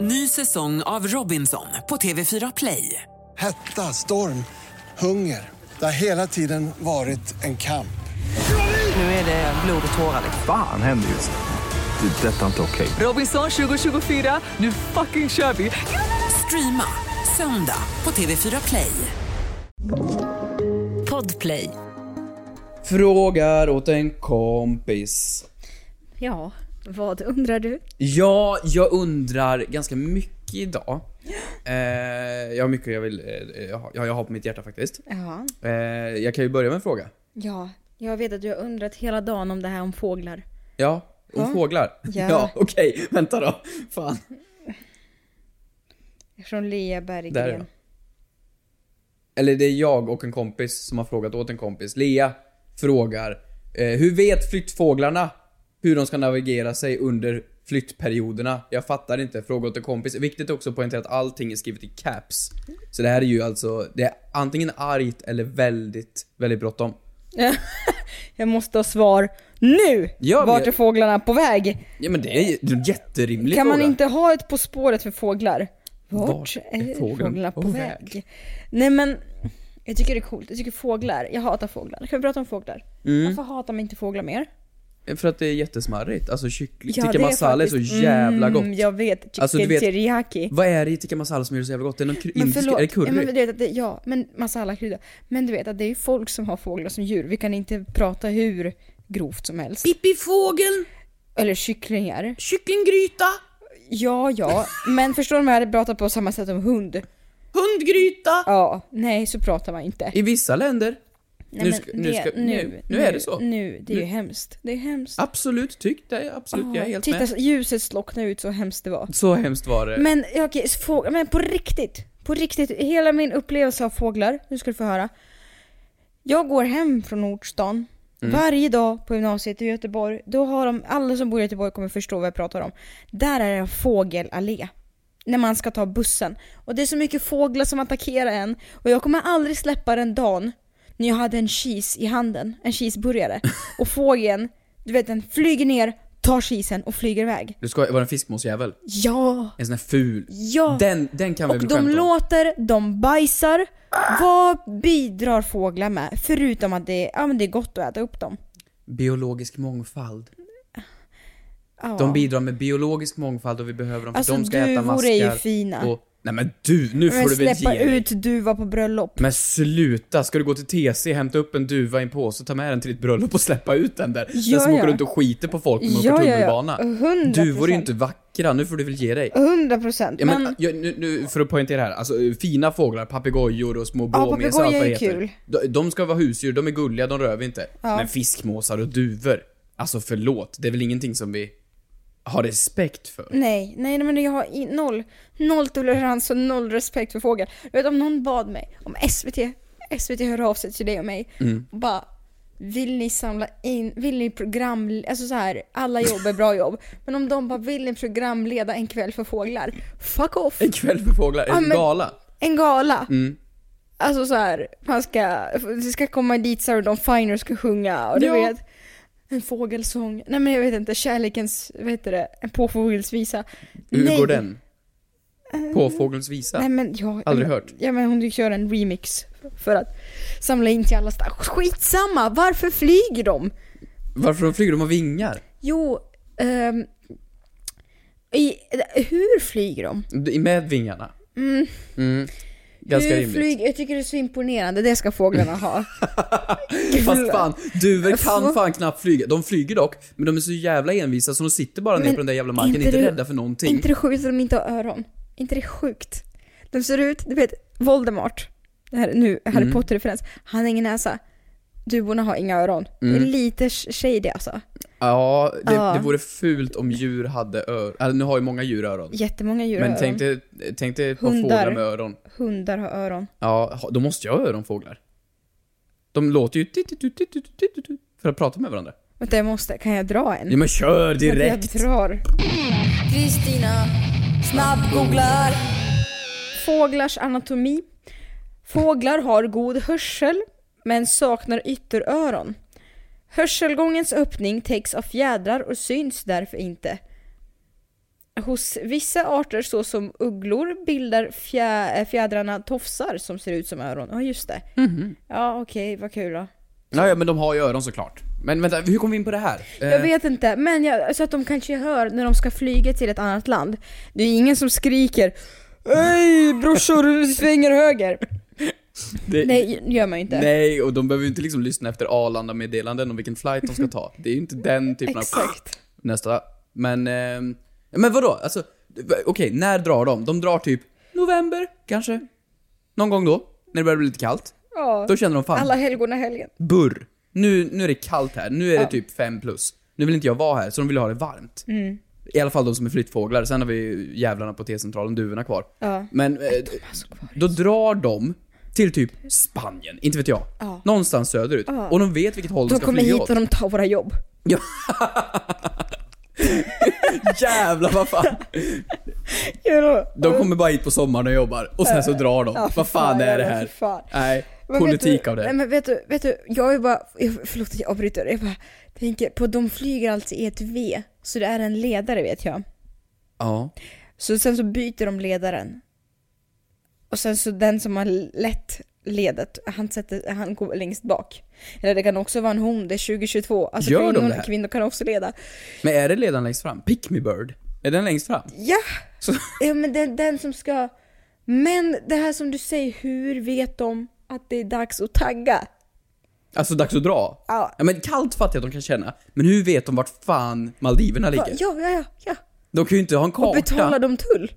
Ny säsong av Robinson på TV4 Play. Hetta, storm, hunger. Det har hela tiden varit en kamp. Nu är det blod och tårar. liksom. Fan händer just nu. Det. är Detta är inte okej. Robinson 2024, nu fucking kör vi! Streama söndag på TV4 Play. Podplay. Frågar åt en kompis. Ja, vad undrar du? Ja, jag undrar ganska mycket idag. Eh, jag har mycket jag vill, eh, jag har- jag har på mitt hjärta faktiskt. Ja. Eh, jag kan ju börja med en fråga. ja, jag vet att du har undrat hela dagen om det här om fåglar. Ja, om fåglar. Ja. okej, vänta då. Fan. Från Lea Där är Berggren. jag. Eller det är jag och en kompis som har frågat åt en kompis. Lea frågar, eh, hur vet flyttfåglarna hur de ska navigera sig under flyttperioderna? Jag fattar inte. Fråga åt en kompis. Viktigt också att poängtera att allting är skrivet i caps. Så det här är ju alltså, det är antingen argt eller väldigt, väldigt bråttom. Jag måste ha svar nu! Ja, men Vart jag- är fåglarna på väg? Ja men det är ju det är en jätterimlig Kan fråga. man inte ha ett På spåret för fåglar? Vart, Vart är är fågeln fåglarna på på väg? Nej men, jag tycker det är coolt. Jag tycker fåglar, jag hatar fåglar. Kan vi prata om fåglar? Mm. Varför hatar man inte fåglar mer? För att det är jättesmarrigt. Alltså kyckling, Ja, det tikka är masala är så faktiskt- jävla gott. Mm, jag vet, chicken Alltså, du vet- teriyaki. Vad är det i tikka masala som gör det så jävla gott? Är det någon kry- indisk, är det curry? Ja, men du vet att det, ja, men masala krydda. Men du vet att det är ju folk som har fåglar som djur. Vi kan inte prata hur grovt som helst. Pippifågeln! Eller kycklingar. Kycklinggryta! Ja, ja. Men förstår du om jag hade pratat på samma sätt om hund? Hundgryta! Ja, nej så pratar man inte. I vissa länder. Nej, nu men ska- nu det- ska- nu- nu är det så. Nu, det är ju Nu- hemskt. Det är hemskt. Absolut, tyck det. Absolut, jag är helt Titta, med. så- ljuset slocknade ut så hemskt det var. Så hemskt var det. Men ja, okej, så fåglar, men på riktigt. På riktigt, hela min upplevelse av fåglar, nu ska du få höra. Jag går hem från Nordstan varje dag på gymnasiet i Göteborg. Då har de, alla som bor i Göteborg kommer förstå vad jag pratar om. Där är det en fågelallé. När man ska ta bussen. Och det är så mycket fåglar som attackerar en. Och jag kommer aldrig släppa den dagen när jag hade en cheese i handen, en cheeseburgare. Och fågeln, du vet den flyger ner, tar cheesen och flyger iväg. Du ska vara en fiskmåsjävel. Ja! En sån här ful. Ja! Den, den kan vi Och väl de skämta om? låter, de bajsar. Vad bidrar fåglar med? Förutom att det, ja, men det är gott att äta upp dem. Biologisk mångfald. Ja. De bidrar med biologisk mångfald och vi behöver dem för Alltså, de ska duvor äta är maskar. ju fina. Och... Nej men du, nu Men får du väl släppa ge dig. ut duva på bröllop. Men sluta! Ska du gå till TC, hämta upp en duva i en påse, ta med den till ditt bröllop och släppa ut den där? Ja, den som ja. åker runt och skiter på folk när de Ja, åker ja, ja. tunnelbana. 100%. Duvor är ju inte vackra, nu får du väl ge dig. 100% procent. Ja, men, men ja, nu, nu, för att poängtera här, alltså fina fåglar, papegojor och små Ja, blåmes och papegojor allt vad är det heter. kul. De, de ska vara husdjur, de är gulliga, de rör vi inte. Men fiskmåsar och duvor, alltså förlåt, det är väl ingenting som vi har respekt för? nej, nej, nej men jag har i- noll, noll tolerans och noll respekt för fåglar. Du vet om någon bad mig, om SVT, SVT hör av sig till dig och mig Mm. och bara vill ni samla in, vill ni program, alltså så här, alla jobb är bra jobb. Men om de bara vill ni programleda en kväll för fåglar, fuck off! En kväll för fåglar, en Ja, men- gala. En gala. Mm. Alltså så här, man ska, det ska komma dit så här och de finer ska sjunga och du Ja. vet. En fågelsång. Nej men jag vet inte, kärlekens, vad heter det, en påfågelsvisa. Hur Nej. Eh, går den? Påfågelns visa? Nej men jag... Aldrig men, hört. Ja men hon fick köra en remix för att samla in till alla stack. Skitsamma, varför flyger de? Varför de flyger? De har vingar. Jo, ehm, i, hur flyger de? D- Med vingarna. Mm. Ganska hur rimligt. Flyger, jag tycker det är så imponerande, det ska fåglarna ha. Gud. Fast fan, duvor kan Få- fan knappt flyga. De flyger dock, men de är så jävla envisa så de sitter bara ner Men på den där jävla marken, inte inte, det- rädda för någonting. inte det sjukt att de inte har öron? inte det sjukt? De ser ut, du vet, Voldemort, det här, nu Harry Mm. Potter-referens, han har ingen näsa. Duvorna har inga öron. Det Mm. är lite sh- shady alltså. Ja, det, Ja. det vore fult om djur hade öron. Alltså, nu har ju många djur öron. Jättemånga djur Men har tänk öron. dig, tänk dig ett par Hundar. fåglar med öron. Hundar har öron. Ja, ha- de måste ju ha öron, fåglar. De låter ju tit- tit- tit- tit- tit- tit- tit- för att prata med varandra. Vänta jag måste, kan jag dra en? Ja men kör direkt! Jag drar. Kristina snabbgooglar. Fåglars anatomi. Fåglar har god hörsel, men saknar ytteröron. Hörselgångens öppning täcks av fjädrar och syns därför inte. Hos vissa arter såsom ugglor bildar fjä eh, fjädrarna tofsar som ser ut som öron. Ja just det. Ja okej, vad kul då. Ja, ja, men de har ju öron såklart. Men vänta, hur kom vi in på det här? Jag vet inte, men jag, så att de kanske hör när de ska flyga till ett annat land. Det är ingen som skriker Hej brorsor, svänger höger! det, Nej, gör man ju inte. Nej, och de behöver ju inte liksom lyssna efter Arlanda-meddelanden om vilken flight de ska ta. Det är ju inte den typen av... Exakt. Nästa. Men, eh, men vadå? Alltså, okej, när drar de? De drar typ november, kanske? Någon gång då? När det börjar bli lite kallt? Ja. Då känner de fan, Alla helgona helgen. burr. Nu, nu är det kallt här, nu är det typ 5 plus. Nu vill inte jag vara här, så de vill ha det varmt. Mm. I alla fall de som är flyttfåglar, sen har vi ju jävlarna på T-centralen, duvorna kvar. Ja. Men eh, då drar de till typ Spanien, inte vet jag. Någonstans söderut. Och de vet vilket håll de, De ska kommer flyga hit åt. och de tar våra jobb. Ja. Jävlar vad fan. De kommer bara hit på sommaren och jobbar och sen så drar de. Ja, för vad fan, fan, är det ja, här? för fan. Nej, Men vet politik du, av Nej det. men vet du, vet du, jag är bara, jag- förlåt att jag avbryter, jag bara tänker på de flyger alltid i ett V, så det är en ledare vet jag. Ja. Så sen så byter de ledaren. Och sen så den som har lett ledet, han, sätter, han går längst bak. Eller det kan också vara en hon, det är 2022. Alltså Gör de kvinnor, det här? kvinnor kan också leda. Men är det ledaren längst fram? Pick me bird. Är den längst fram? Ja! Så- ja men den, den som ska... Men det här som du säger, hur vet de att det är dags att tagga? Alltså dags att dra? Ja. men kallt fattar jag att de kan känna. Men hur vet de vart fan Maldiverna Ja, ligger? ja, ja, ja. De kan ju inte ha en karta. Betalar de tull?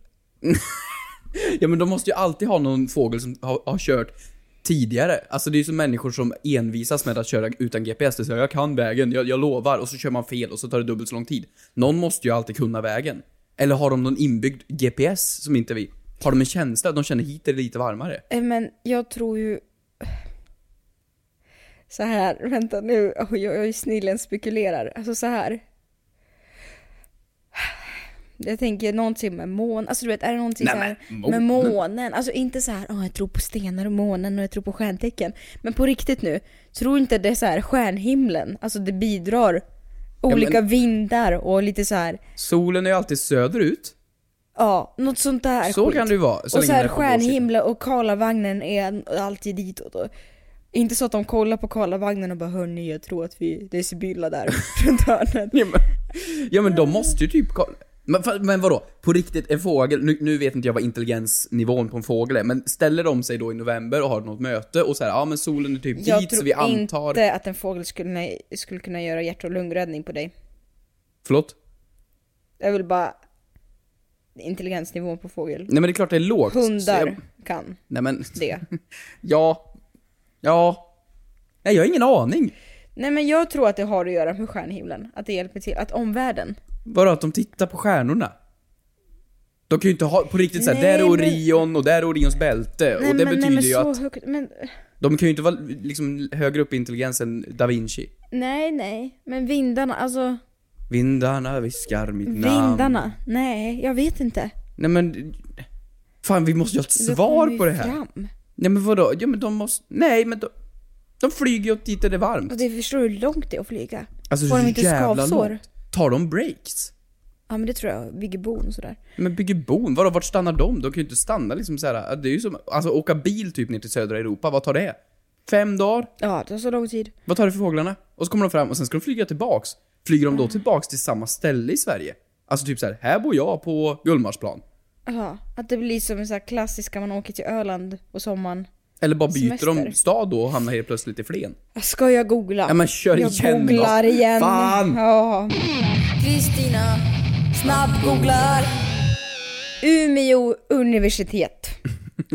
Ja men de måste ju alltid ha någon fågel som har, har kört tidigare. Alltså det är ju som människor som envisas med att köra utan GPS. Det säger jag kan vägen, jag, jag lovar. Och så kör man fel och så tar det dubbelt så lång tid. Någon måste ju alltid kunna vägen. Eller har de någon inbyggd GPS som inte vi? Har de en känsla att de känner hit är det lite varmare? Eh, Men jag tror ju... Så här, vänta nu, Oj, jag, jag är snillen spekulerar. Alltså så här. Jag tänker någonting med månen, alltså du vet är det någonting Nej, så här men, med månen? Alltså inte så här, oh, jag tror på stenar och månen och jag tror på stjärntecken. Men på riktigt nu, tror inte det är så här stjärnhimlen, alltså det bidrar olika vindar och lite så här, Solen är ju alltid söderut. ja, något sånt där Så skit. kan det ju vara. och så länge här den är på vår sida. stjärnhimla och Karlavagnen är alltid ditåt. Och inte så att de kollar på Karlavagnen och bara hörni jag tror att vi, det är Sibylla där runt hörnet. Ja men, ja, men de måste ju typ kolla. Men, fa- men vadå? På riktigt, en fågel, nu, nu vet inte jag vad intelligensnivån på en fågel är, men ställer de sig då i november och har något möte och så här, ja men solen är typ Jag vit så tror vi antar... inte att en fågel skulle, skulle kunna göra hjärt och lungräddning på dig. Förlåt? Jag vill bara... Intelligensnivån på fågel. Nej men det är klart det är lågt. så Hundar jag- kan nej men, det. ja. Ja. Nej jag har ingen aning. Nej men jag tror att det har att göra med stjärnhimlen. Att det hjälper till. Att omvärlden. Bara att de tittar på stjärnorna. De kan ju inte ha, på riktigt såhär, Nej, där är men- Orion och där är Orions bälte. Nej, och det men, betyder nej, men ju så att högt. Men, de kan ju inte vara liksom högre upp i intelligens än Da Vinci. nej nej. Men vindarna, alltså. Vindarna viskar mitt namn. Vindarna? Nej, jag vet inte. Nej men... Fan vi måste ju ha ett Då kommer svar vi på det här. Fram. Nej men vadå? Ja men de måste... Nej men de... De flyger ju åt dit där det är varmt. Och det förstår du hur långt det är att flyga? Alltså Får så de inte jävla skavsår? långt. Tar de breaks? Ja men det tror jag, Vigge Bon och sådär. Men bygger bon, vadå vart stannar de? De kan ju inte stanna liksom så här. Det är ju som, alltså åka bil typ ner till södra Europa, vad tar det? Fem dagar? Ja, det tar så lång tid. Vad tar det för fåglarna? Och så kommer de fram och sen ska de flyga tillbaks. Flyger Mm. de då tillbaks till samma ställe i Sverige? Alltså typ så här, här bor jag på Gullmarsplan. Ja, att det blir som en sån här klassiska, man åker till Öland på sommaren. Eller bara byter Semester. de stad då och hamnar helt plötsligt i Flen. Ska jag googla? Ja men kör jag igen googlar då. igen. Fan! Ja. Kristina snabbgooglar. Umeå universitet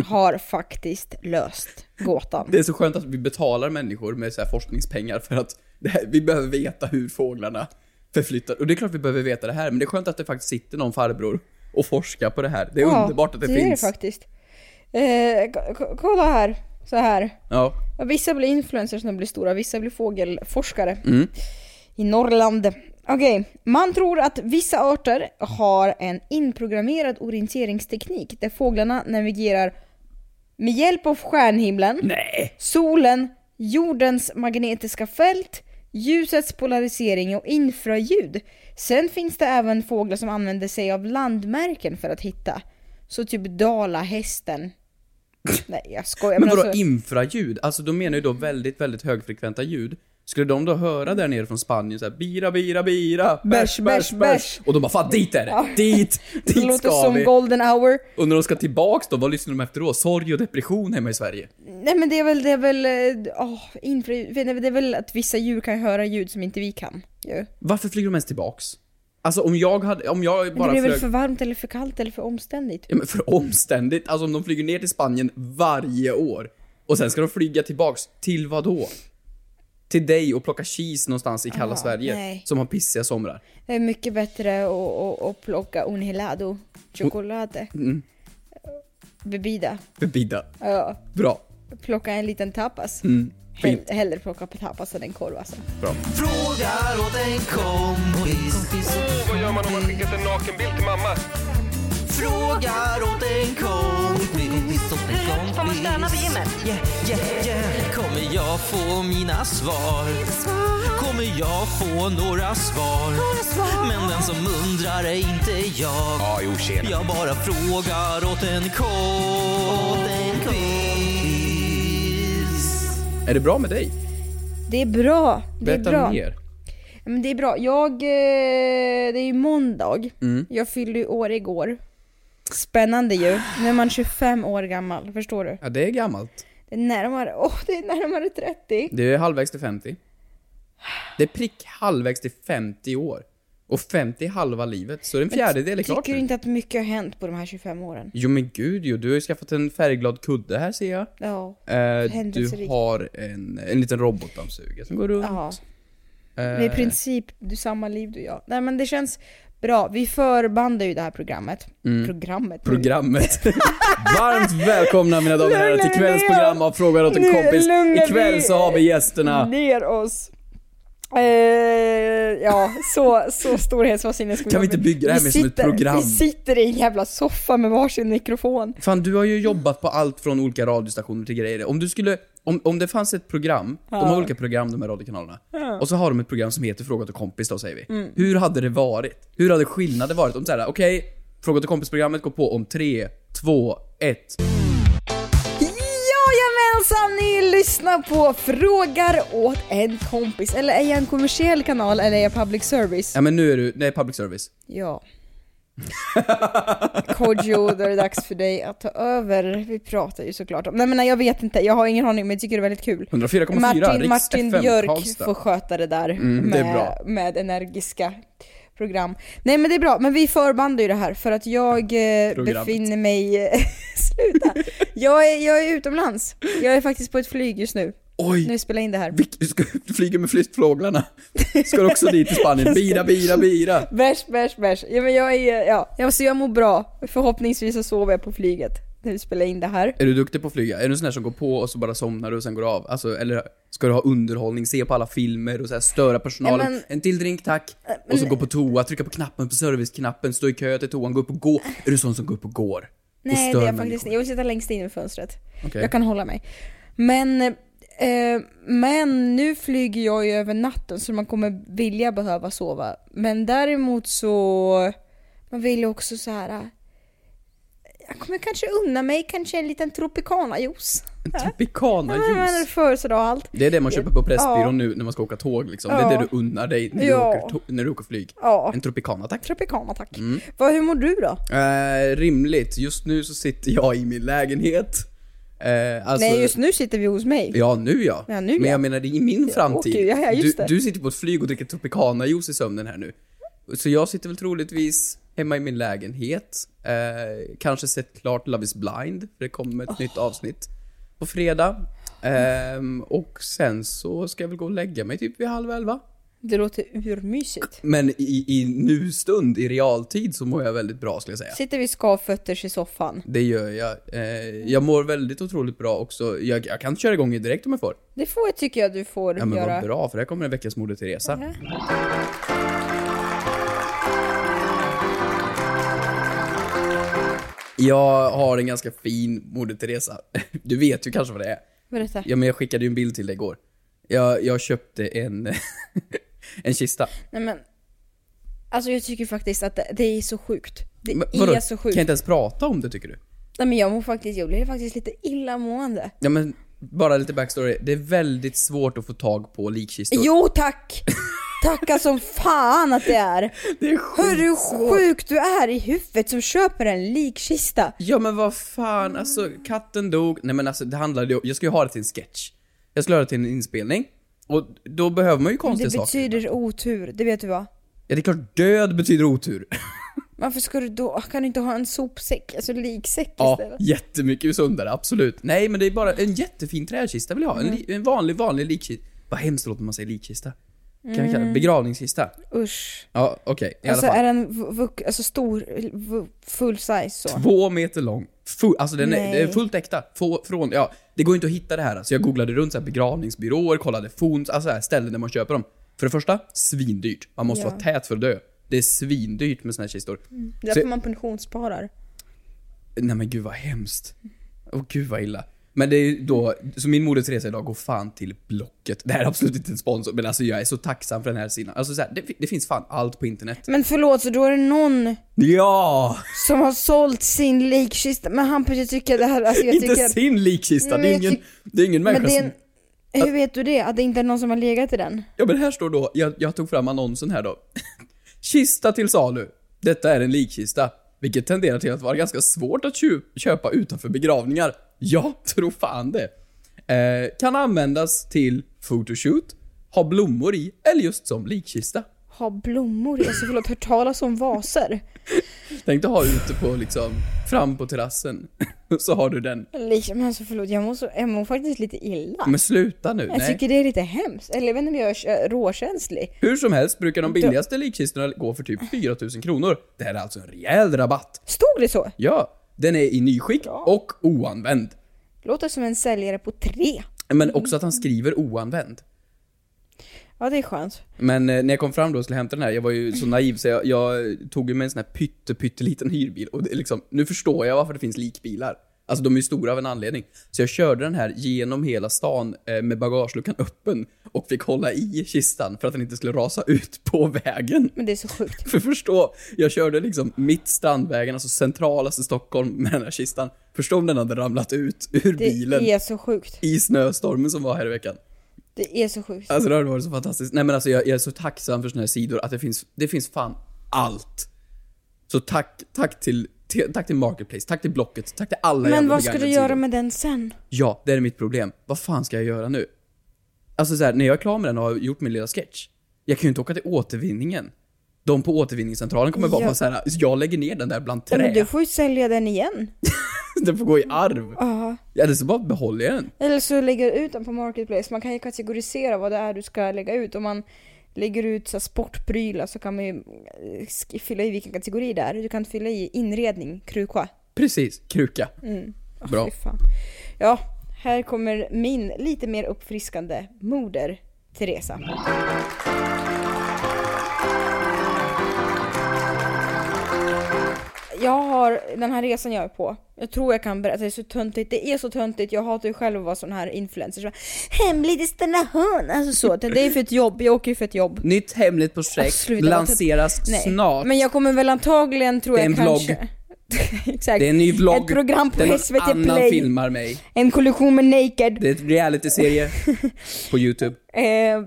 har faktiskt löst gåtan. Det är så skönt att vi betalar människor med så här forskningspengar för att det här, vi behöver veta hur fåglarna förflyttar. Och det är klart vi behöver veta det här, men det är skönt att det faktiskt sitter någon farbror och forskar på det här. Det är ja, underbart att det, är det finns. faktiskt. Eh, k- k- kolla här, så här. ja. Ja, Vissa blir influencers när de blir stora, vissa blir fågelforskare. Mm. I Norrland. Okej, man tror att vissa arter har en inprogrammerad orienteringsteknik där fåglarna navigerar med hjälp av stjärnhimlen, Nej. solen, jordens magnetiska fält, ljusets polarisering och infraljud. Sen finns det även fåglar som använder sig av landmärken för att hitta. Så typ dalahästen. Nej jag skojar Men vadå alltså- infraljud? Alltså de menar ju då väldigt, väldigt högfrekventa ljud. Skulle de då höra där nere från Spanien såhär bira, bira, bira, bärs, bärs, bärs. Och de bara fan dit är det! Dit! Det Dit låter ska som vi! golden hour. Och när de ska tillbaks då, vad lyssnar de efter då? Sorg och depression hemma i Sverige. Nej men det är väl, det är väl, eh, åh, infraljud. Vet ni, Det är väl att vissa djur kan höra ljud som inte vi kan. Ju. Varför flyger de ens tillbaks? Alltså om jag hade, om jag Men det bara blir väl flög... för varmt eller för kallt eller för omständigt. Ja, men för omständigt. Alltså om de flyger ner till Spanien varje år. Och sen ska de flyga tillbaks, till vad då? Till dig och plocka cheese någonstans i kalla Ah, Sverige. nej. Som har pissiga somrar. Det är mycket bättre att- att att plocka un helado, chocolate, Mm, bebida, förbidda. ja, Bra. plocka en liten tapas. Mm. Hell, hellre plocka på tapas än en korv alltså. Frågar åt en kompis. Vad gör man om man skickat en nakenbild till mamma? Frågar åt en kompis. Åt en kompis. Får man stöna på gymmet? Yeah, yeah, yeah. Kommer jag få mina svar? Kommer jag få några svar? Men den som undrar är inte jag. Ja, jo tjena. Jag bara frågar åt en kompis. Är det bra med dig? Det är bra, det är Berätta bra. mer. Ja, Men det är bra. Jag, eh, det är ju måndag. Mm. Jag fyllde ju år igår. Spännande ju. Nu är man 25 år gammal, förstår du? Ja, det är gammalt. Det är närmare, åh det är närmare 30. Det är halvvägs till 50. Det är prick halvvägs till 50 år. Och 50 är halva livet, så en fjärdedel är klart Tycker nu. du inte att mycket har hänt på de här 25 åren? Jo men gud jo, du har ju skaffat en färgglad kudde här ser jag. Ja. Eh, du Händelserikt. har en, en liten robotdammsugare som går runt. Ja. Eh, Det är i princip du, samma liv du och jag. Nej men det känns bra. Vi förbandar ju det här programmet. Programmet? Mm. programmet. Varmt välkomna mina damer och herrar till Lugna kvällens ner. program av Frågar åt en Nu kompis. lugnar Ikväll vi så har vi gästerna. Ner oss. Eh, ja, så, så storhetsvansinne Kan ska vi vara. inte bygga det här Vi mer som ett sitter- program? Vi sitter i en jävla soffa med varsin mikrofon. Fan du har ju jobbat på allt från olika radiostationer till grejer. Om du skulle, om, om det fanns ett program, de har olika program de här radiokanalerna. Och så har de ett program som heter Fråga till kompis då säger vi. Mm. Hur hade det varit? Hur hade skillnaden varit om såhär, okej, Fråga till kompis-programmet går på om tre, två, ett. Jajamensan, ni lyssnar på Frågar åt en kompis. Eller är jag en kommersiell kanal eller är jag public service? Ja men nu är du, nej public service. Ja. Kodjo, då är det dags för dig att ta över. Vi pratar ju såklart om... Nej men nej, jag vet inte, jag har ingen aning men jag tycker det är väldigt kul. 104,4 Martin, Riks Martin FM, Björk Karlstad. får sköta det där Mm, det är med, bra. med energiska program. Nej men det är bra, men vi förbandar ju det här för att jag eh, Programmet. befinner mig... Sluta! Jag är, jag är utomlands. Jag är faktiskt på ett flyg just nu. Oj! Nu spelar jag in det här. Vilk, ska, du flyger med flyttfåglarna. Ska du också dit till Spanien? Bira, bira, bira. Bärs, bärs, bärs. Ja, men jag är, ja. Jag, så jag mår bra. Förhoppningsvis så sover jag på flyget när vi spelar in det här. Är du duktig på att flyga? Är du en sån här som går på och så bara somnar du och sen går av? Alltså, eller ska du ha underhållning, se på alla filmer och så här störa personalen? Ja, men- Äh, En till drink tack! och så gå på toa, trycka på knappen, på serviceknappen, stå i kö till toan, gå upp och gå. Är du sån som går upp och går? Nej, stör det är jag människor. faktiskt inte. Jag vill sitta längst in i fönstret. Okej. Jag kan hålla mig. Men, eh, men nu flyger jag ju över natten så man kommer vilja behöva sova. Men däremot så, man vill ju också så här. eh, Jag kommer kanske unna mig kanske en liten tropicana-juice. Tropicana-juice. Födelsedag och allt. Det är det man köper på Pressbyrån Ja. nu när man ska åka tåg liksom. Det Ja. är det du unnar dig när du, Ja. åker, to- när du åker flyg. Ja. En Tropicana tack. Tropicana tack. Mm. Vad, hur mår du då? Eh, rimligt. Just nu så sitter jag i min lägenhet. Eh, alltså, Nej just nu sitter vi hos mig. Ja, nu ja. Ja, nu, Men jag ja. menar i min framtid. okej, ja, ja, just du, det. du sitter på ett flyg och dricker Tropicana-juice i sömnen här nu. Så jag sitter väl troligtvis hemma i min lägenhet. Eh, kanske sett klart Love is blind, för det kommer ett nytt avsnitt på fredag. Ehm, och sen så ska jag väl gå och lägga mig typ vid halv elva. Det låter urmysigt. Men i, i nu-stund, i realtid, så mår jag väldigt bra skulle jag säga. Sitter vi skavfötters i soffan. Det gör jag. Eh, jag mår väldigt otroligt bra också. Jag, jag kan köra igång direkt om jag får. Det får, tycker jag du får Ja men göra. vad bra, för här kommer en veckans Moder Teresa. Jag har en ganska fin Moder Teresa. Du vet ju kanske vad det är. Berätta. Ja men jag skickade ju en bild till dig igår. Jag, jag köpte en, en kista. Nej men. Alltså jag tycker faktiskt att det, det är så sjukt. Det Men är så Kan sjukt. jag inte ens prata om det tycker du? Nej men jag mår faktiskt, jag blir faktiskt lite illamående. Ja men, bara lite backstory. Det är väldigt svårt att få tag på likkistor. Jo tack! Tacka som fan att det är! Det är Hör du sjukt. hur sjuk du är i huvudet som köper en likkista? Ja men vad fan, alltså Mm. katten dog. Nej men alltså det handlade ju, jag ska ju ha det till en sketch. Jag skulle ha det till en inspelning. Och då behöver man ju Det konstiga saker. betyder otur, det vet du va? Ja det är klart, död betyder otur. Varför ska du då, kan du inte ha en sopsäck, alltså liksäck Ja, istället? jättemycket sundare, absolut. Nej men det är bara en jättefin träkista vill jag ha. En, Mm. li- en vanlig, vanlig likkista. Vad hemskt det låter när man säger likkista. Kan vi kalla det begravningskista? Usch. Ja, okej. I alla Mm. Alltså fall. är den v- vux- alltså stor, v- full size så? Två meter lång. Full, alltså den är, Nej. det är fullt äkta. Få, från, ja, det går inte att hitta det här. Så jag googlade runt så här begravningsbyråer, kollade fons, alltså så här ställen där man köper dem. För det första, svindyrt. Man måste Ja. Mm. vara tät för att dö. Det är svindyrt med såna här kistor. Det är därför man pensionssparar. Nej men gud vad hemskt. Åh gud vad illa. Men det är ju då, så min moders resa idag går fan till Blocket. Det här är absolut inte en sponsor, men alltså jag är så tacksam för den här sidan. Alltså så här, det, fi- det finns fan allt på internet. Men förlåt, så då är det någon Ja! som har sålt sin likkista, men Hampus jag tycker det här, alltså jag inte tycker... sin likkista, Men det är jag ingen, tyck- det är ingen människa Men det är som... en, hur vet du det? Att det inte är någon som har legat i den? Ja men här står då, jag, jag tog fram annonsen här då. Kista till salu. Detta är en likkista. Vilket tenderar till att vara ganska svårt att tju- köpa utanför begravningar. Jag tror fan det. Eh, kan användas till photoshoot, ha blommor i eller just som likkista. Ha blommor i, alltså förlåt, hört talas om vaser? Tänk dig ha ute på liksom, fram på terrassen. Så har du den. Lik- Men alltså förlåt, jag mår, så, jag mår faktiskt lite illa. Men sluta nu. Jag Nej. tycker det är lite hemskt, eller jag vet inte om jag är kö- råkänslig. Hur som helst brukar de billigaste likkistorna gå för typ 4000 kronor. Det här är alltså en rejäl rabatt. Stod det så? Ja, den är i nyskick och oanvänd. Låter som en säljare på tre. Men också att han skriver oanvänd. Ja det är skönt. Men eh, när jag kom fram då och skulle hämta den här, jag var ju så naiv så jag, jag tog ju med en sån här pytte, pytteliten hyrbil. Och det är liksom, nu förstår jag varför det finns likbilar. Alltså de är ju stora av en anledning. Så jag körde den här genom hela stan eh, med bagageluckan öppen och fick hålla i kistan för att den inte skulle rasa ut på vägen. Men det är så sjukt. För förstå, jag körde liksom mitt Strandvägen, alltså centralaste Stockholm med den här kistan. Förstå om den hade ramlat ut ur Det bilen är så sjukt. i snöstormen som var här i veckan. Det är så sjukt. Alltså det hade varit så fantastiskt. Nej men alltså jag, jag är så tacksam för såna här sidor, att det finns, det finns fan allt. Så tack, tack till, till, tack till Marketplace, tack till Blocket, tack till alla Men jävla vad ska du begagnade göra sidor. med den sen? Ja, det är mitt problem. Vad fan ska jag göra nu? Alltså så här, när jag är klar med den och har gjort min lilla sketch, jag kan ju inte åka till återvinningen. De på återvinningscentralen kommer bara Ja. vara så här, jag lägger ner den där bland Ja, trä. men du får ju sälja den igen. Den får gå i arv. Ja. Eller så bara behåller jag den. Eller så lägger du ut den på Marketplace. Man kan ju kategorisera vad det är du ska lägga ut. Om man lägger ut så här sportprylar så kan man ju eh, sk- fylla i vilken kategori det är. Du kan fylla i inredning, kruka. Precis, kruka. Åh, Bra. fy fan. Ja, här kommer min lite mer uppfriskande moder, Teresa. Jag har den här resan jag är på. Jag tror jag kan berätta, det är så töntigt. Det är så töntigt. Jag hatar ju själv att vara sån här influencer. Så, bara, Hemlig destination! Alltså så. Det är ju för ett jobb. Jag åker ju för ett jobb. Nytt hemligt projekt Ah, sluta, vad lanseras Nej. snart. Men jag kommer väl antagligen, tror Det är jag en vlogg. kanske... Exakt. Det är en ny vlogg. Ett program där på någon SVT annan Play. filmar mig. En kollision med Naked. Det är en realityserie på YouTube. Eh,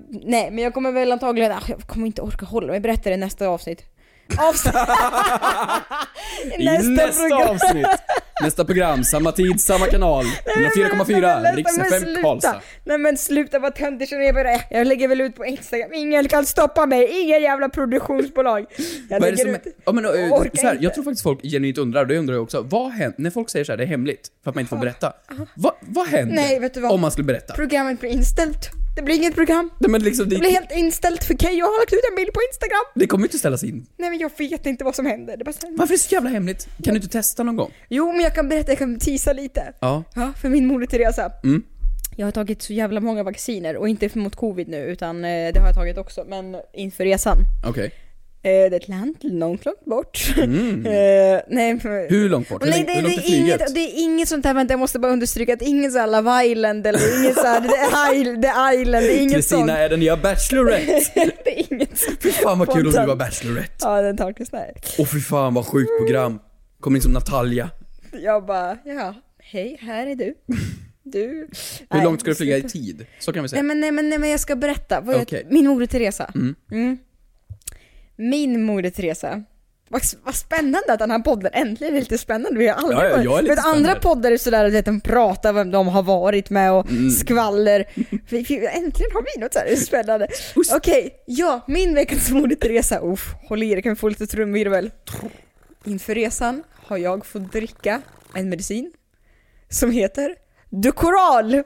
nej, men jag kommer väl antagligen... Ah, jag kommer inte orka hålla mig. Jag berättar det i nästa avsnitt. Avsnitt! I nästa avsnitt. Nästa program, samma tid, samma kanal. Nej, men vänta, 104,4. vänta, Riks men FM sluta. Karlstad. Nej men sluta vad töntig som jag bara, Jag lägger väl ut på Instagram. Ingen kan stoppa mig. Ingen jävla produktionsbolag. Jag Vad är det lägger som är, ut. ja, men, Jag eh, orkar så här, inte. jag tror faktiskt folk genuint undrar, det undrar jag också. Vad händer, när folk säger så här, det är hemligt, för att man inte får berätta. Vad, vad händer Nej, vet du vad? om man skulle berätta? Programmet blir inställt. Det blir inget program. Nej, men liksom, Det blir det, helt inställt för Keyyo har lagt ut en bild på Instagram. det kommer ju inte ställas in. Nej men jag vet inte vad som händer. Det är bara så här- Varför är det så jävla hemligt? Kan du inte testa någon gång? Jo, men jag kan berätta, jag kan tisa lite. Ja. Ja, för min moder Teresa. Mm. Jag har tagit så jävla många vacciner och inte mot covid nu utan eh, det har jag tagit också, men inför resan. Okej. Eh, Det är ett land långt, långt bort. Eh, nej, men- Mm. Hur långt bort? Och Hur nej, lång- det, hur det, långt är är inget, flyget? det är inget sånt här, vänta jag måste bara understryka att det är inget såhär Love Island eller inget såhär The Isle- The Island, det är inget sånt. Kristina är den nya Bachelorette! det är inget sånt. Fy fan vad kul om du Spontant. var Bachelorette! Ja, den tar snär. Och fy fan vad sjukt program! Kom in som Natalia. Jag bara, ja, hej, här är du. Du. Hur Nej, långt ska du flyga i sluta. tid? Så kan vi Nej säga. men, nej men, nej men jag ska berätta. Vad jag, Okej. Min moder Teresa. Mm. Min moder Teresa. Vad, vad spännande att den här podden äntligen är lite spännande. Vi har aldrig Ja, ja, varit- jag är lite för att andra spännande. poddar är sådär att vet, de pratar vem de har varit med och Mm. skvaller. Vi- vi- Äntligen har vi något sådär spännande. Okej, ja, min veckans moder Teresa. Uff, håll i er, kan vi få lite trumvirvel? Inför resan har jag fått dricka en medicin som heter Ducoral.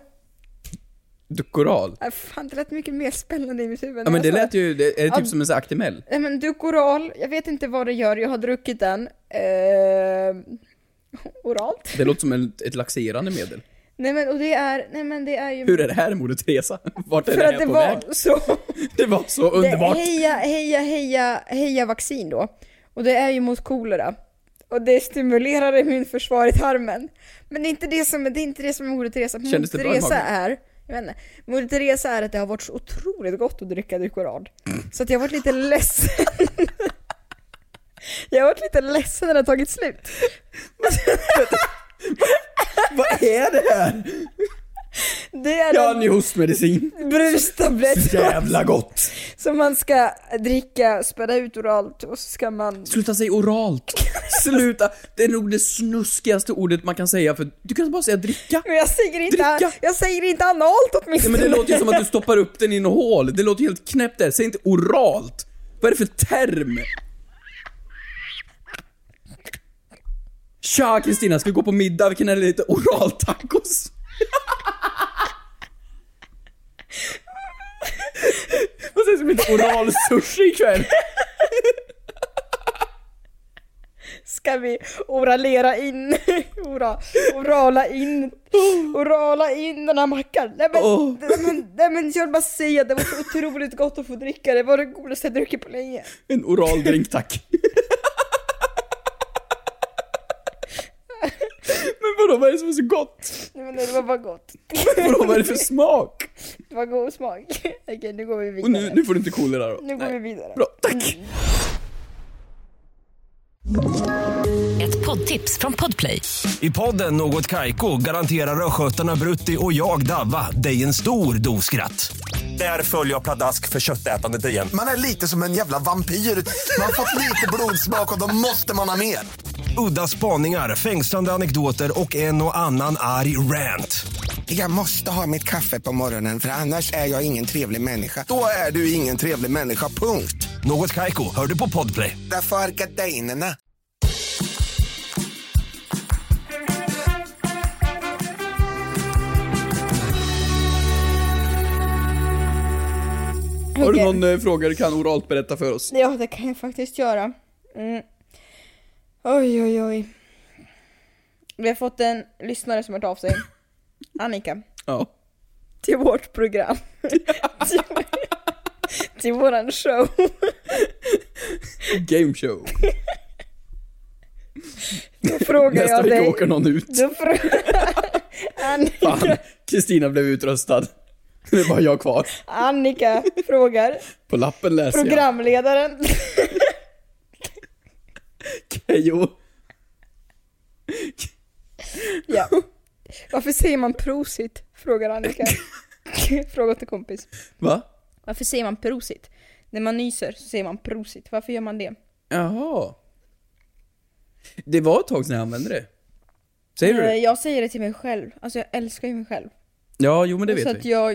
Dukoral. Äh, Fan, det lät mycket mer spännande i mitt huvud. än Ja men det jag sa. lät ju, det, är det alltså- Ja. typ som en sån här Actimel? Nej men Ducoral, jag vet inte vad det gör, jag har druckit den. Eh, oralt. Det låter som en, ett laxerande medel. Nej men och det är, nej men det är ju... Hur är det här Moder Teresa? Vart är för det att här det på var väg? så... Det var så Det, underbart! heja, heja, heja, heja vaccin då. Och det är ju mot kolera. Och det stimulerar immunförsvaret i tarmen. Men det är inte det som, det är inte det som är Moder Teresa. Kändes det Moder bra i Teresa magen? är, jag vet inte, Moder Teresa är att det har varit så otroligt gott att dricka Ducoral. Så att jag har varit lite ledsen. jag har varit lite ledsen när det har tagit slut. Vad är det här? Det är Jag har en en ny hostmedicin. brustablett Så jävla gott! som man ska dricka, späda ut oralt och så ska man... Sluta säga oralt! Sluta! Det är nog det snuskigaste ordet man kan säga för du kan bara säga dricka. Men jag säger inte, Dricka! jag säger inte analt Ja, åtminstone. men det låter ju som att du stoppar upp den i något hål. Det låter ju helt knäppt där. Säg inte oralt. Vad är det för term? Tja Kristina, ska vi gå på middag? Vi kan äta lite oraltacos. Vad sägs om lite oral sushi ikväll? ska vi oralera in, ora, orala in, orala in den här mackan. Nej men, Åh. nej, men, nej, men jag vill bara säga att det var så otroligt gott att få dricka det, var det godaste jag druckit på länge. En oral drink tack. Men vadå, vad är det som är så gott? Nej, men det var bara gott. Vadå, vad är det för smak? Det var god smak. Okej, nu går vi vidare. Och nu, nu får du inte kolera då. Nu går vi vidare. Mm. Bra, tack. Ett poddtips från Podplay. I podden Något Kaiko garanterar östgötarna Brutti och jag, Davva, dig en stor dos skratt. Där följer jag pladask för köttätandet igen. Man är lite som en jävla vampyr. Man har fått lite blodsmak och då måste man ha mer. Udda spaningar, fängslande anekdoter och en och annan arg rant. Jag måste ha mitt kaffe på morgonen för annars är jag ingen trevlig människa. Då är du ingen trevlig människa, punkt. Något Kaiko, hör du på Podplay. Därför är gardinerna. Har du Okej. någon eh, fråga du kan oralt berätta för oss? Ja, det kan jag faktiskt göra. Mm. Oj, oj, oj. Vi har fått en lyssnare som har hört av sig. Annika. Ja. Till vårt program. till, till våran show. Game show. Då frågar Nästa jag vecka dig. åker någon ut. Då frågar Annika, Fan, Kristina blev utröstad. Det är bara jag kvar. Annika frågar På lappen läser jag. programledaren. Kejo. ja. Varför säger man prosit? Frågar Annika. Fråga till kompis. Va? Varför säger man prosit? När man nyser så säger man prosit. Varför gör man det? Jaha. Det var ett tag sedan jag använde det. Säger du Eh, det? Jag säger det till mig själv. Alltså jag älskar ju mig själv. Ja, jo men det så att vet vi. jag,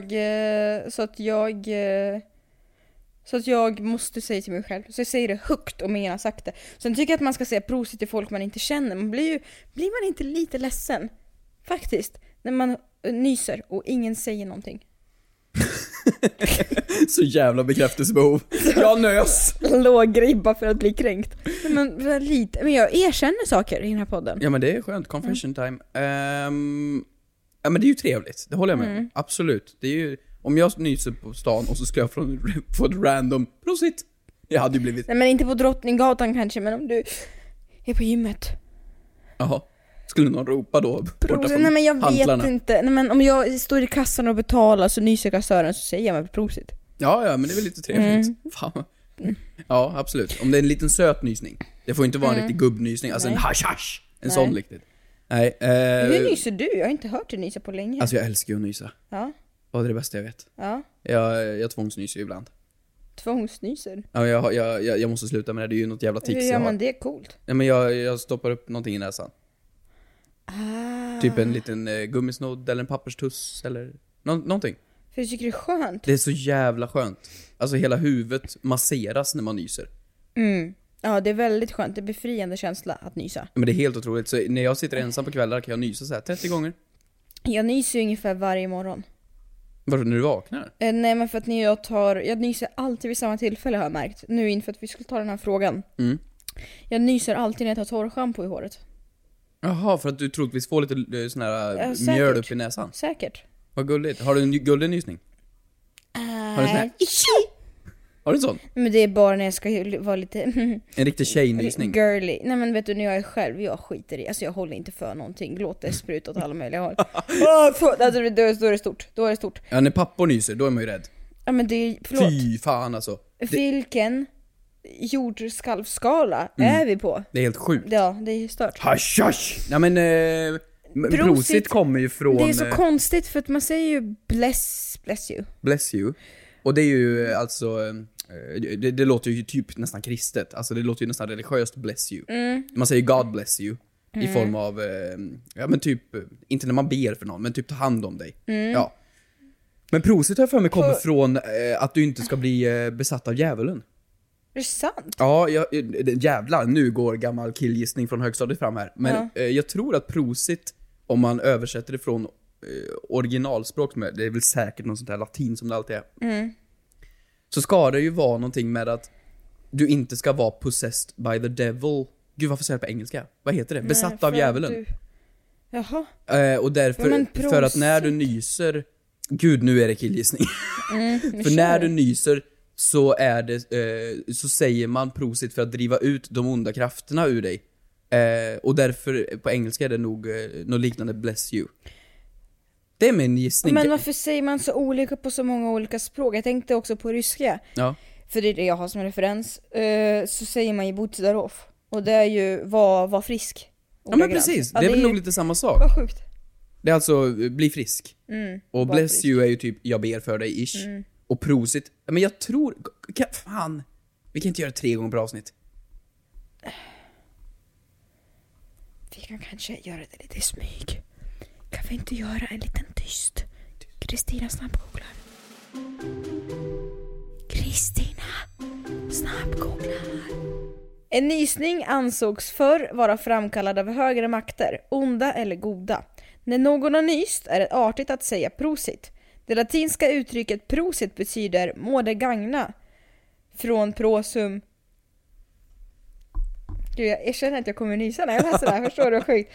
eh, så att jag, eh, så att jag måste säga till mig själv. Så jag säger det högt och menar sakta. Sen tycker jag att man ska säga prosit till folk man inte känner. Man blir ju, blir man inte lite ledsen? Faktiskt. När man eh, nyser och ingen säger någonting. Så jävla bekräftelsebehov. Jag nös. Låg ribba för att bli kränkt. Nej, Men, men, lite, men jag erkänner saker i den här podden. Ja men det är skönt, confession time. Mm. Ehm, ja men det är ju trevligt, det håller jag med om. Mm. Absolut. Det är ju, om jag nyser på stan och så ska jag från, få ett random prosit. Jag hade ju blivit... Nej men inte på Drottninggatan kanske, men om du är på gymmet. Jaha. Skulle någon ropa då? Borta Prosit. från Nej men jag hantlarna? vet inte. Nej, men om jag står i kassan och betalar så nyser kassören så säger jag väl prosit. Ja, ja, men det är väl lite trevligt. Mm. Fan. Ja, absolut. Om det är en liten söt nysning. Det får inte vara en Mm. riktig gubbnysning, alltså en Nej. hasch hasch. En Nej. sån riktigt. Nej, Hur eh, nyser du? Jag har inte hört dig nysa på länge. Alltså jag älskar ju att nysa. Ja, Vad är det bästa jag vet? ja. Jag, jag tvångsnyser ju ibland. Tvångsnyser. Ja, jag, jag, jag, jag måste sluta med det, det är ju något jävla Hur tics gör jag har. man det coolt? Nej men jag, jag stoppar upp någonting i näsan. Ah. Typ en liten eh, gummisnodd eller en papperstuss eller nå, någonting. För jag tycker det är skönt. Det är så jävla skönt. Alltså hela huvudet masseras när man nyser. Mm. Ja, det är väldigt skönt. Det är befriande känsla att nysa. Men det är helt otroligt. Så när jag sitter ensam på kvällar kan jag nysa så här 30 gånger. Jag nyser ju ungefär varje morgon. Varför när du vaknar? Eh, nej men för att när jag tar, jag nyser alltid vid samma tillfälle har jag märkt. Nu inför att vi skulle ta den här frågan. Mm. Jag nyser alltid när jag tar torrschampo i håret. Jaha, för att du troligtvis får lite eh, sån här eh, Ja, säkert. mjöl upp i näsan. Säkert. Vad gulligt. Har du en ny- gullig nysning? du en sån här? Nej, tjo! Har du en sån? Eh, Men det är bara när jag ska ju vara lite En riktig tjejnysning? girly. Nej men vet du när jag är själv, jag skiter i, alltså jag håller inte för någonting. Låt det spruta åt alla möjliga håll. Åh, förlåt. alltså, då är då är det stort, då är det stort. Ja, när pappor nyser, då är man ju rädd. Ja men det är, förlåt. Fy fan alltså. Det, Vilken jordskalvskala Mm. är vi på? det är helt sjukt. Ja, det är stört. Hasch, hasch! Nej men, eh, men Prosit- prosit, kommer ju från... Det är så eh, konstigt för att man säger ju bless, bless you. Bless you. Och det är ju eh, alltså, eh, det, det låter ju typ nästan kristet. Alltså det låter ju nästan religiöst, bless you. Mm. Man säger God bless you. Mm. I form av, eh, ja men typ, eh, inte när man ber för någon, men typ ta hand om dig. Mm. Ja. Men prosit har jag för mig kommer På- från eh, att du inte ska bli eh, besatt av djävulen. Är det sant? Ja, jag, eh, jävlar, nu går gammal killgissning från högstadiet fram här. Men eh, jag tror att prosit, om man översätter det från eh, originalspråk, som är- det är väl säkert något sånt här latin som det alltid är. Mm. Så ska det ju vara någonting med att du inte ska vara possessed by the devil. Gud, varför säger jag det på engelska? Vad heter det? Nej, Besatt för av att djävulen. du- Jaha. Eh, och Ja, därför, men för att när du nyser... Gud, nu är det killgissning. Mm, nu för kör när vi. du nyser så är det, eh, så säger man prosit för att driva ut de onda krafterna ur dig. Eh, och därför, på engelska är det nog eh, något liknande bless you. Det är min gissning. Men varför säger man så olika på så många olika språk? Jag tänkte också på ryska. Ja. För det är det jag har som referens. Eh, så säger man ju Butsudarov. Och det är ju var, var frisk. Ja men Ordagrant. precis, Oh Ja, det är väl ju- nog lite samma sak. Vad sjukt. Det är alltså, eh, bli frisk. Mm, Och var bless frisk. you är ju typ, jag ber för dig-ish. Mm. Och prosit, men jag tror, kan, fan. Vi kan inte göra tre gånger per avsnitt. Vi kan kanske göra det lite i smyg. Kan vi inte göra en liten tyst? Kristina snabbgooglar. Kristina snabbgooglar. En nysning ansågs förr vara framkallad av högre makter, onda eller goda. När någon har nyst är det artigt att säga prosit. Det latinska uttrycket prosit betyder må det gagna. Från prosum Gud, jag erkänner att jag kommer nysa när jag läser det här, förstår du vad sjukt?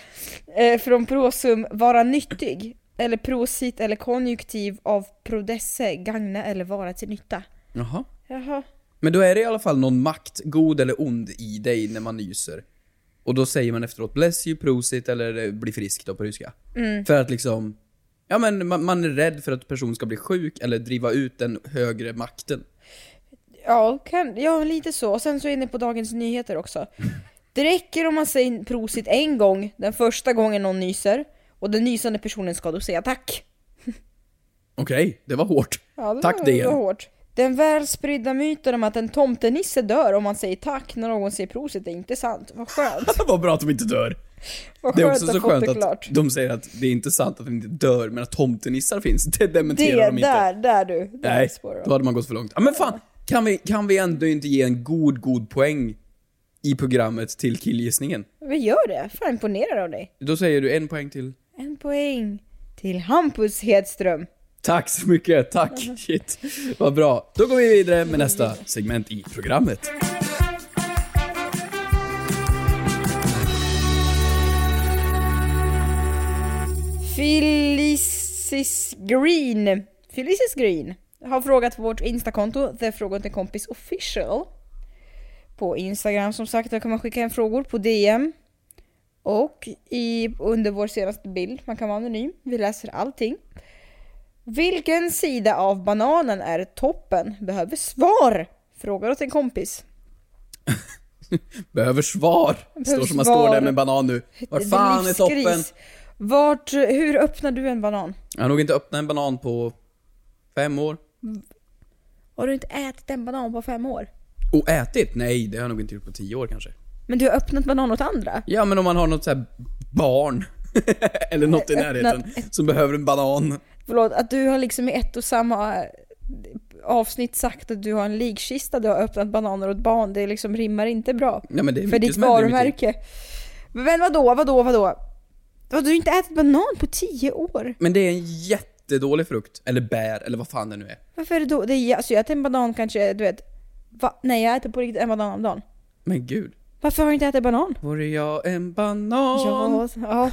Eh, från prosum, vara nyttig, eller prosit eller konjunktiv av prodesse, gagna eller vara till nytta. Jaha. Jaha. Men då är det i alla fall någon makt, god eller ond, i dig när man nyser. Och då säger man efteråt 'bless you, prosit' eller eh, 'bli frisk' då på ryska. Mm. För att liksom, ja men man, man är rädd för att personen ska bli sjuk eller driva ut den högre makten. Ja, kan, ja, lite så. Och sen så är jag inne på Dagens Nyheter också. Det räcker om man säger prosit en gång, den första gången någon nyser, och den nysande personen ska då säga tack. Okej, det var hårt. Ja, det Tack var, DN. det var hårt. Den väl spridda myten om att en tomtenisse dör om man säger tack när någon säger prosit är inte sant. Vad skönt. Vad bra att de inte dör. Vad Det är skönt också att så fått skönt det att klart. de säger att det är inte sant att de inte dör, men att tomtenissar finns. Det dementerar Det, de inte. där, där du. Där Nej, spårar de. då hade man gått för långt. Ja, men fan, kan vi, kan vi ändå inte ge en god, god poäng i programmet till killgissningen? Vi gör det. Fan imponerad av dig. Då säger du en poäng till. En poäng till Hampus Hedström. Tack så mycket, tack. Shit, vad bra. Då går vi vidare med nästa segment i programmet. Felicis Green. Felicis Green har frågat på vårt instakonto, The Fråga åt en kompis official. På Instagram som sagt, där kan man skicka in frågor på DM. Och i, under vår senaste bild, man kan vara anonym, vi läser allting. Vilken sida av bananen är toppen? Behöver svar! Frågar åt en kompis. Behöver svar. Behöver Står som man står svar. där med banan nu. Var Det fan är livskris. toppen? Vart, hur öppnar du en banan? Jag har nog inte öppnat en banan på fem år. Har du inte ätit en banan på fem år? Och ätit? Nej, det har jag nog inte gjort på tio år kanske. Men du har öppnat banan åt andra? Ja, men om man har något så här barn. Eller något i Öppna- närheten som behöver en banan. Förlåt, att du har liksom i ett och samma eh, avsnitt sagt att du har en likkista, du har öppnat bananer åt barn, det liksom rimmar inte bra. Ja, men det är för mycket ditt som händer i mitt liv. varumärke. Men vadå, vadå, vadå? Vadå, Du har inte ätit banan på tio år? Men det är en jättedålig frukt. Eller bär, eller vad fan det nu är. Varför är det då? Det är, alltså jag äter en banan kanske, du vet, va? Nej jag äter på riktigt en banan om dagen. Men gud. Varför har du inte ätit banan? Vore jag en banan? Ja, ja.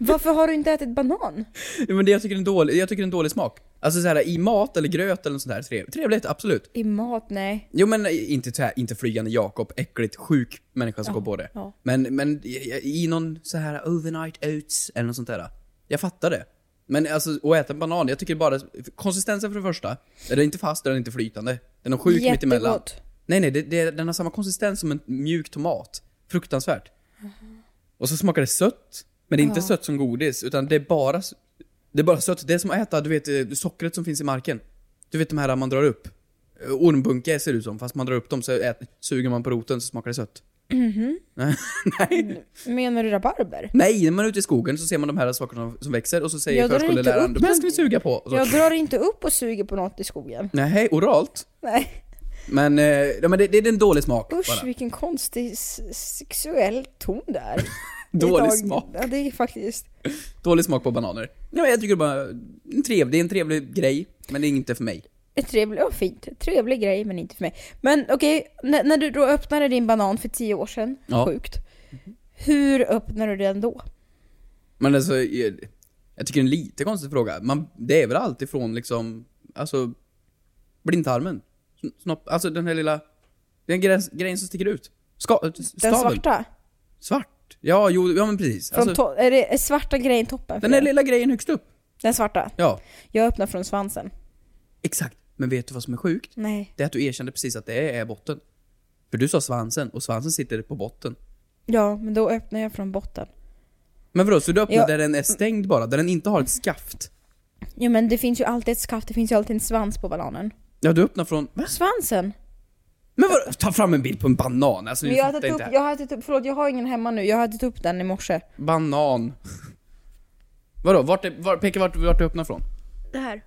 Varför har du inte ätit banan? Ja, men det, jag, tycker det är en dålig, jag tycker det är en dålig smak. Alltså så här i mat eller gröt eller något sånt där. trev- Trevligt, absolut. I mat, nej. Jo men inte, så här, inte flygande Jakob, äckligt, sjuk människa som Ja, går på det. ja. Men, men i- i någon så här overnight oats eller något sånt där. Jag fattar det. Men alltså att äta en banan, jag tycker bara konsistensen för det första, den är inte fast, den är inte flytande. Den är sjuk Jättegott. mittemellan. Nej nej, det, det, den har samma konsistens som en mjuk tomat. Fruktansvärt. Och så smakar det sött. Men det är inte Ja. sött som godis, utan det är bara s- Det är bara sött. Det är som att äta, du vet, eh, sockret som finns i marken. Du vet de här man drar upp. Eh, Ormbunke ser det ut som, fast man drar upp dem så äter, suger man på roten så smakar det sött. Mhm. Nej. Nej. Menar du rabarber? Nej, när man är ute i skogen så ser man de här sakerna som, som växer och så säger Jag drar inte förskoleläraren upp de här ska vi suga på. Och så, Jag drar inte upp och suger på något i skogen. Nej, oralt. Nej. Men, eh, ja, men det, det är en dålig smak Usch bara. vilken konstig s- sexuell ton där. Dålig smak. Ja det är faktiskt. Dålig smak på bananer. Nej, men jag tycker bara, en trevlig, det är en trevlig grej, men det är inte för mig. Ett trevligt, och fint. Trevlig grej men inte för mig. Men okej, när, när du då öppnade din banan för tio år sedan, Ja. sjukt. Hur öppnade du den då? Men alltså, jag, jag tycker det är en lite konstig fråga. Man, det är väl allt ifrån liksom, alltså, blindtarmen. Sn- Snopp, alltså den här lilla, den gräns, grejen som sticker ut. Ska, Den staven. svarta? Svart? Ja, jo, ja men precis. Från Alltså, to- är det är svarta grejen toppen? för den här dig? lilla grejen högst upp. den svarta? Ja, Jag öppnar från svansen. exakt. Men vet du vad som är sjukt? Nej. Det är att du erkände precis att det är botten. För du sa svansen, och svansen sitter på botten. Ja, men då öppnar jag från botten. Men vadå, så du öppnar Ja. där den är stängd bara? Där den inte har ett skaft? Jo men det finns ju alltid ett skaft, det finns ju alltid en svans på bananen. Ja, du öppnar från... Va? Svansen! Men vadå? Ta fram en bild på en banan! Alltså, Men ni jag har fattar ätit upp, inte här. jag har ätit upp, förlåt jag har ingen hemma nu, jag har ätit upp den i morse. Banan. Vadå? Vart, är- var, peka vart, vart du öppnar från? Det här,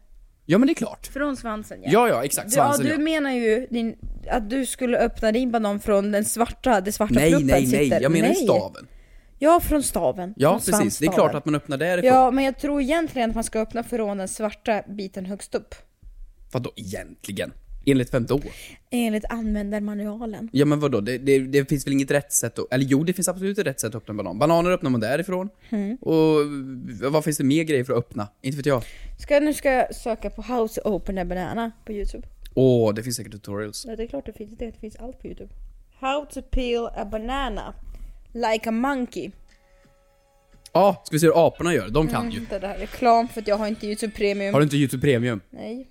Ja men det är klart. från svansen Ja, ja, exakt. Du, ja, Svansen du ja. menar ju din, att du skulle öppna din banan från den svarta, det svarta Nej, pluppen nej, nej. sitter. Jag menar ju Nej. staven. Ja, från staven. Ja, från precis. Det är klart svansstaven. att man öppnar därifrån. Ja, men jag tror egentligen att man ska öppna från den svarta biten högst upp. Vadå egentligen? Enligt vem då? Enligt användarmanualen. Ja men vadå? Det, det, det finns väl inget rätt sätt att... Eller jo, det finns absolut ett rätt sätt att öppna en banan. Bananer öppnar man därifrån. Mm. Och eh, vad finns det mer grejer för att öppna? Inte vet jag. Ska, nu ska jag söka på How to open a banana på youtube. Åh, det finns säkert tutorials. Nej, det är klart det finns det, det finns allt på youtube. How to peel a banana. Like a monkey. Ja, ah, ska vi se hur aporna gör? De kan Mm, ju. vänta, Det här är reklam för att jag har inte youtube premium. Har du inte YouTube Premium? Nej.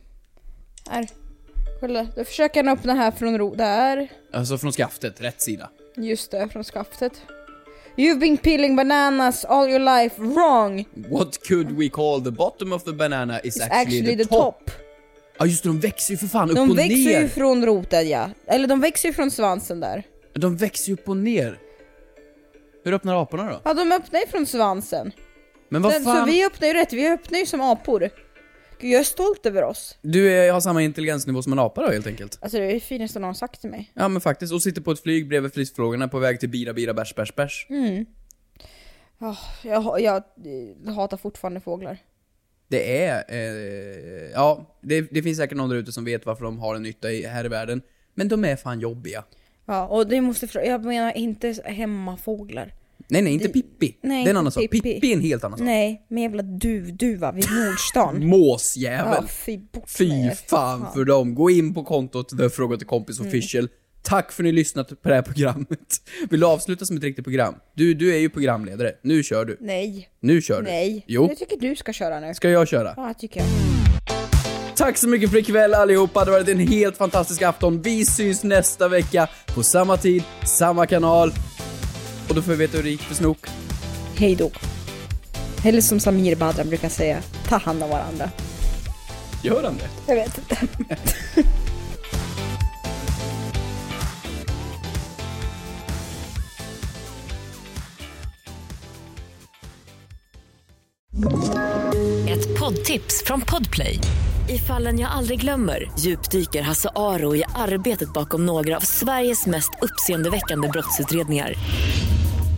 Här. Kolla, då försöker han öppna här från ro... Där. Alltså från skaftet, rätt sida. Just det, från skaftet. You've been peeling bananas all your life wrong. What could we call the bottom of the banana is It's actually, the, top. Ja just det, de växer ju för fan upp De och växer ner. ju från roten ja. Eller de växer ju från svansen där. De växer ju upp och ner. Hur öppnar aporna då? Ja, de öppnar ju från svansen. Men vad Den- Så fan? vi öppnar ju rätt, vi öppnar ju som apor. Gud, jag är stolt över oss. Du är, har samma intelligensnivå som en apa då helt enkelt? Alltså det är det finaste någon har sagt till mig. Ja men faktiskt, och sitter på ett flyg bredvid flyttfrågorna på väg till bira bira bärs bärs bärs. Mm. Ja, jag, ha- jag eh, hatar fortfarande fåglar. Det är, eh, ja, det, det finns säkert någon där ute som vet varför de har en nytta i, här i världen. Men de är fan jobbiga. Ja, och det måste för- jag menar inte hemmafåglar. Nej nej, inte Det- Pippi. nej, det är en inte annan sak. Pippi. Pippi är en helt annan sak. Nej, men jävla duvduva vid Nordstan. Måsjävel. Ja, fy bort med Fy Mm. er. fan för dem. Gå in på kontot The Fråga till Kompis Official. Tack för att ni har lyssnat på det här programmet. Vill du avsluta som ett riktigt program? Du, du är ju programledare. Nu kör du. Nej. Nu kör du. Nej. Jo. Jag tycker du ska köra nu. Ska jag köra? Ja, tycker jag. Tack så mycket för ikväll allihopa. Det har varit en helt fantastisk afton. Vi syns nästa vecka på samma tid, samma kanal. Och då får vi veta hur det gick för Snook. Hej då. Eller som Samir Badran brukar säga, ta hand om varandra. Gör han det? Jag vet inte. Ett poddtips från Podplay. I fallen jag aldrig glömmer djupdyker Hasse Aro i arbetet bakom några av Sveriges mest uppseendeväckande brottsutredningar.